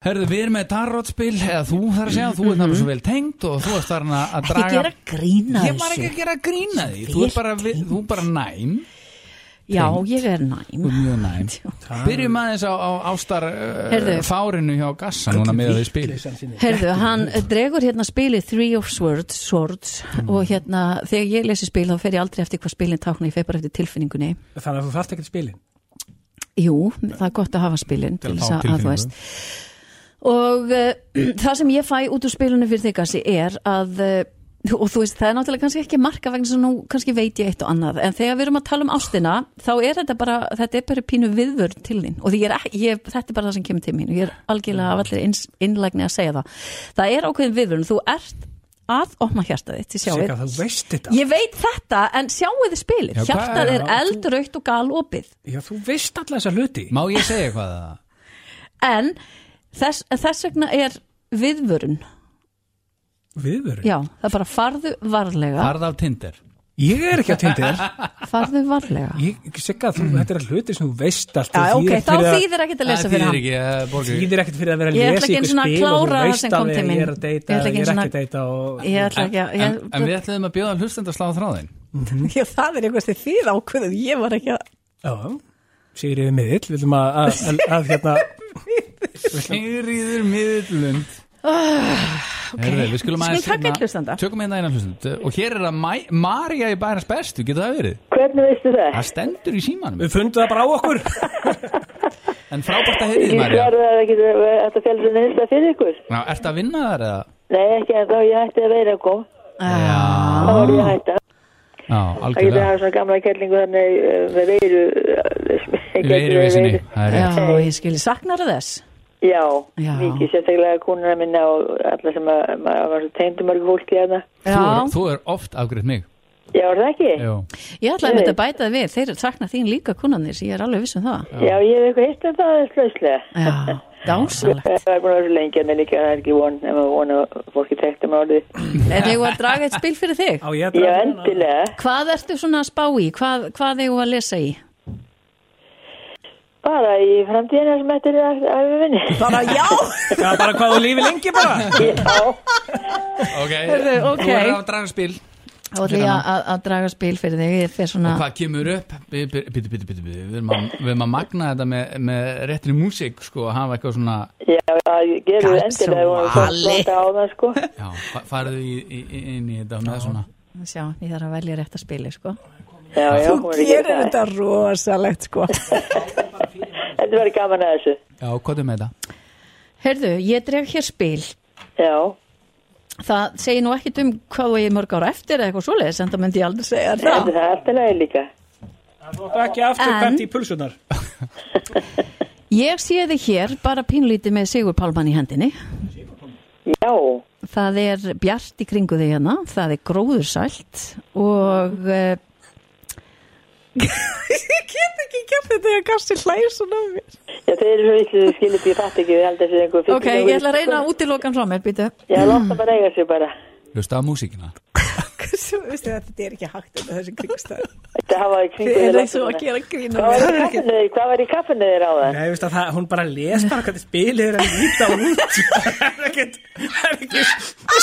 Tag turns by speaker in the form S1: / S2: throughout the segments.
S1: Herðu, við erum með tarotspil, eða þú þarf að segja, þú ert náttúrulega svo vel tengt og þú ert þarna að
S2: Ekki
S1: draga...
S2: gera grína
S1: Ég var ekki að gera grína því, þú er bara, við, þú er bara næm,
S2: Já, ég er næm
S1: þú er mjög næm. Byrjum aðeins á, á ástar uh,
S2: Heyrðu.
S1: fárinu hjá Gassa núna með því spil.
S3: Vitleysan sinni.
S2: Herðu, hann dregur hérna spilið Three of Swords, swords
S1: Mm.
S2: og hérna, þegar ég lesi spil þá fer ég aldrei eftir hvað spilin tákna, ég fer bara eftir tilfinningunni
S3: Þannig að þú þarft ekkert spilin
S2: Jú, það er gott að hafa spilin til
S1: Til að
S2: þess
S1: fá
S2: að, að þú
S1: tilfinningu.
S2: veist og uh, það sem ég fæ út úr spilunum fyrir þig Gassi er að uh, og þú veist, það er náttúrulega kannski ekki marka vegna sem nú kannski veit ég eitt og annað en þegar við erum að tala um ástina þá er þetta bara, þetta er bara pínu viðvörn til þín og því ég er, ekki- ég, þetta er bara það sem kemur til mín og ég er algjörlega af allir inn, innlægni að segja það það er ákveðin viðvörn, þú ert að opna hjarta þitt, ég sjá
S3: Sigga, þú veist þetta
S2: ég veit þetta, en sjáu þið spilið
S1: Já, hvað
S2: hjartað
S1: er
S2: er
S3: það?
S2: eldrautt og galopið
S3: Já, þú veist alla þessa hluti
S1: Má ég segja eitthvað að það?
S2: en þess, þess vegna er viðvörun
S3: Viðvörun
S2: já, það er bara farðu varlega
S1: Farð af Tinder.
S3: Ég er ekki að tindir
S2: farðu varlega
S3: Sigga, þú, þetta er hluti sem þú veist allt
S2: Mm. já,
S3: og
S2: ok, þá þýðir
S3: þýðir ekkert fyrir að-
S2: ekkert að lesa fyrir
S1: Það
S2: hann
S1: þýðir ekki, eh, Borgur.
S3: Þýðir ekkert fyrir að vera að
S2: Ég ætla
S3: lesa
S2: ekki
S3: ykkur
S2: einu sinni að
S3: spil og þú
S2: klára það
S3: veist
S2: sem kom
S3: alveg
S2: til mín.
S3: Ég er
S2: Ég
S3: að deyta,
S2: ætla ekki
S3: ég
S2: einu
S3: er ekki að deyta og
S2: ég ætla ekki að
S1: En,
S2: ég,
S1: en við ætlum að bjóða hlustend að slá þráðin.
S2: já, það er einhvers þið þið ákveðum ég var ekki að
S3: Já, Sigriði miðill, við viljum að, að, að, að hérna,
S1: Sigriður Miðlund Herðu, við skulum
S2: Ah, Skulum
S1: aðeins
S2: taka
S1: hérna-
S2: einn hlustanda.
S1: Tökum einn eina hlustand Og hér er að Mæ- María í bærens bestu Getur það verið?
S4: Hvernig veistu það?
S1: Það stendur í símanum
S3: við fundum það bara á okkur.
S1: En frábært að heyrið
S4: Ég
S1: María
S4: svarði að það ekki að þetta fjallir sem nýsta fyrir ykkur.
S1: Ná, Ert að vinna þar eða?
S4: Nei, ekki en þá ég hætti að veira kom.
S1: Já,
S4: Þá var ég að hætta.
S1: já
S4: Það getur að
S1: algjörlega
S4: hafa svona gamla kellingu þannig eh, með veiru. eh, sem-
S1: Við erum við sinni Það er rétt.
S2: já, ég skil, saknar þess
S4: Já,
S2: Já.
S4: mikið sérstaklega kúnuna minna og alla sem að, maður var svo teimdu mörgu fólki hérna.
S1: Þú
S2: já,
S1: er- Þú er oft afgriðt mig
S4: Já, er það ekki?
S1: Jó.
S2: ég ætla að þetta bæta þið við þeir saknar þín líka kunnanir, ég er alveg viss um það
S4: Já, ég hef eitthvað hitt um það aðeins lauslega.
S2: já, dásalegt
S4: Það er búin að vera svo lengi en líka það er ekki von ef maður vona að fólki tekta með orðið.
S2: er þið að draga eitt spil fyrir þig
S3: Á ég að
S4: um Já,
S3: draga hana?
S4: endilega.
S2: hvað ertu svona að spá í, hvað, hvað eigum við að lesa í
S4: Bara í framtíðina sem þetta er að, að við vinni.
S2: bara já
S3: Já, bara hvað þú lífi lengi bara.
S4: Já.
S1: Ok,
S2: Heyrðu, ok.
S1: þú er að draga spil
S2: Þá ætla ég að, að draga spil fyrir þig Ég fer svona
S1: Og hvað kemur upp? Við, byr- bíddu, bíddu, bíddu, bíddu. við, erum, að, við erum að magna þetta með, með réttinu músík sko, að hafa eitthvað svona
S4: Já, það gerur
S2: Gæs
S4: endilega
S2: og
S4: og það
S2: vali.
S4: flóta á það sko.
S1: Já, fa- farðu í, í, í- inn í þetta með svona
S2: Sjá, ég þarf að velja rétt að spili sko.
S4: Já, já, hún er ekki það.
S2: rosalegt sko.
S4: Þetta verður gaman að þessu.
S1: Já, hvað er með þetta?
S2: Herðu, ég dreg hér spil
S4: Já,
S2: Það segir nú ekkit um hvað ég mörg ára eftir eða eitthvað svoleiðis en það myndi ég aldrei segja
S4: en
S2: það
S4: það er alltaf leið líka.
S3: Þú ætti ekki aftur
S2: En-
S3: hvert í pulsunar.
S2: Ég sé þig hér bara pínlítið með Sigur Pálmann í hendinni
S4: Já,
S2: Það er bjart í kringu þig hérna Það er gróðursælt og uh, Ég get ekki gert þetta ég kannski hlægir svona um mér
S4: já þeir eru svo vissið þau skilir því fatt ekki við held þessu einhver fyrir.
S2: Ok, ég ætla að reyna að útilokan frá mér, býtu
S4: Já, láta bara eiga sig bara.
S1: Hlusta á músíkina
S5: Svo, veistu, þetta er ekki hægt undir þessum kringstæðum.
S4: Þetta hafa í kringu
S5: Þið
S4: þeirra
S5: eru svo að gera grína
S4: Hvað
S5: með.
S4: var í kaffinu þeir- hvað var í kaffinu þeir á það?
S3: Nei, veist að það, hún bara les bara hvernig spilið er að líta út. Það er ekkert, það er ekki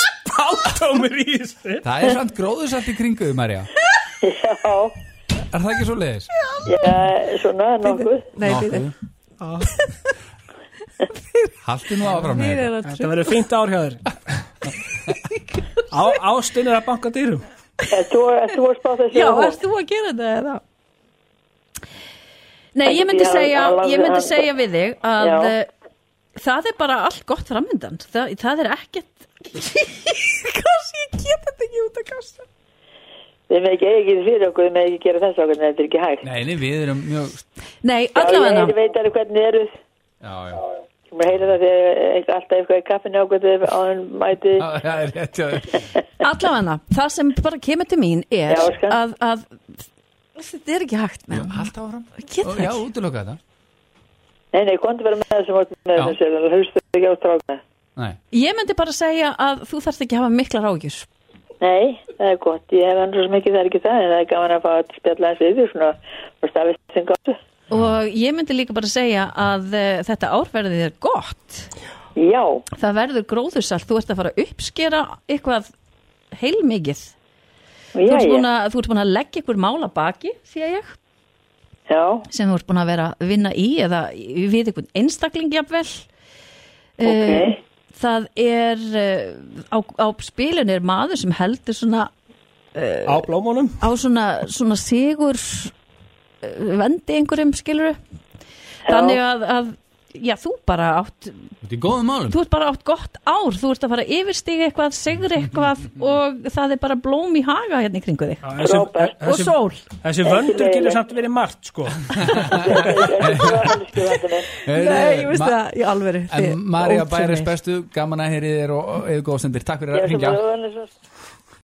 S3: spátómur í þessu.
S1: Það er samt gróðursalt í kringuðu, Marja
S4: Já,
S1: Er það ekki svo leiðis?
S4: já, svona nokkuð.
S5: Nei, býðu.
S1: Haltu nú áfram með
S5: Þið
S1: þetta
S5: eru að
S3: Þetta verður fínt ár hjá þér. Á, ástin er að banka dyrum.
S4: Ert þú ert þú að spá þessu?
S2: Já, ert þú að gera þetta eða? Nei, ég myndi
S4: Já,
S2: segja,
S4: alveg-
S2: ég myndi segja við þig að
S4: Já.
S2: eh, það er bara allt gott framöndan. Það, það er ekkert... Kansi ég get þetta ekki út að kasta.
S4: Við með ekki eigið fyrir okkur, við með ekki gera þessu okkur, en þetta er ekki hægt.
S1: Nei, nei, við erum mjög
S2: Nei,
S4: Já,
S2: allavega
S4: ég veit alveg hvernig þið eruð.
S1: Já, já
S4: Ég maður heyra það þegar eitthvað- alltaf eitthvað í kaffinu okkur þegar á hann mæti.
S1: Já, Það er rétt, já
S2: Allavega, það sem bara kemur til mín er
S4: Já, skal.
S2: að, að þetta er ekki hægt með hann.
S1: Haltu áfram
S2: Get það
S1: Ó, Já,
S2: ekki.
S1: útiloka þetta
S4: Nei, nei, komdu bara með þessum orðum með
S1: Já.
S4: þessum sérlega, hlustu ekki á strákna.
S1: Nei,
S2: Ég myndi bara segja að þú þarft ekki að hafa miklar ágjur.
S4: Nei, það er gott, ég hef annars mikið það er ekki það, en það er gaman að fá að spjalla eins við því svona, og stafið sem gáttu.
S2: eh, Og ég myndi líka bara segja að uh, þetta árferðið er gott.
S4: Já,
S2: það verður gróðursalt, þú ert að fara að uppskera eitthvað heilmikið þú
S4: já,
S2: ert, búin
S4: já,
S2: að, þú ert búin að leggja ykkur mála baki því að ég,
S4: já,
S2: sem þú ert búin að vera að vinna í eða við einhvern einstakling jafnvel okay.
S4: ok,
S2: það er eh, á, á spilun er maður sem heldur svona
S3: á blómónum
S2: á svona, svona sigur eh, vendi einhverjum skiluru þannig að, að já, þú bara átt
S1: Þetta er góðum málum
S2: þú ert bara átt gott ár, þú ert að fara að yfirstíga eitthvað, sigur eitthvað og það er bara blóm í haga hérna í kringu þig
S4: Frábært.
S2: og sól
S3: Þessi vöndur getur samt verið margt sko
S4: þetta var elsku vandaminn.
S5: Nei, ég veist það, í alvöru
S1: En
S5: þið-
S1: Marja
S5: ótrúlegir.
S1: Bæris bestu, gaman að heyri þér og og- eða góðsendir Takk fyrir
S4: Ég
S1: að
S4: er svo
S1: ringja
S4: bara,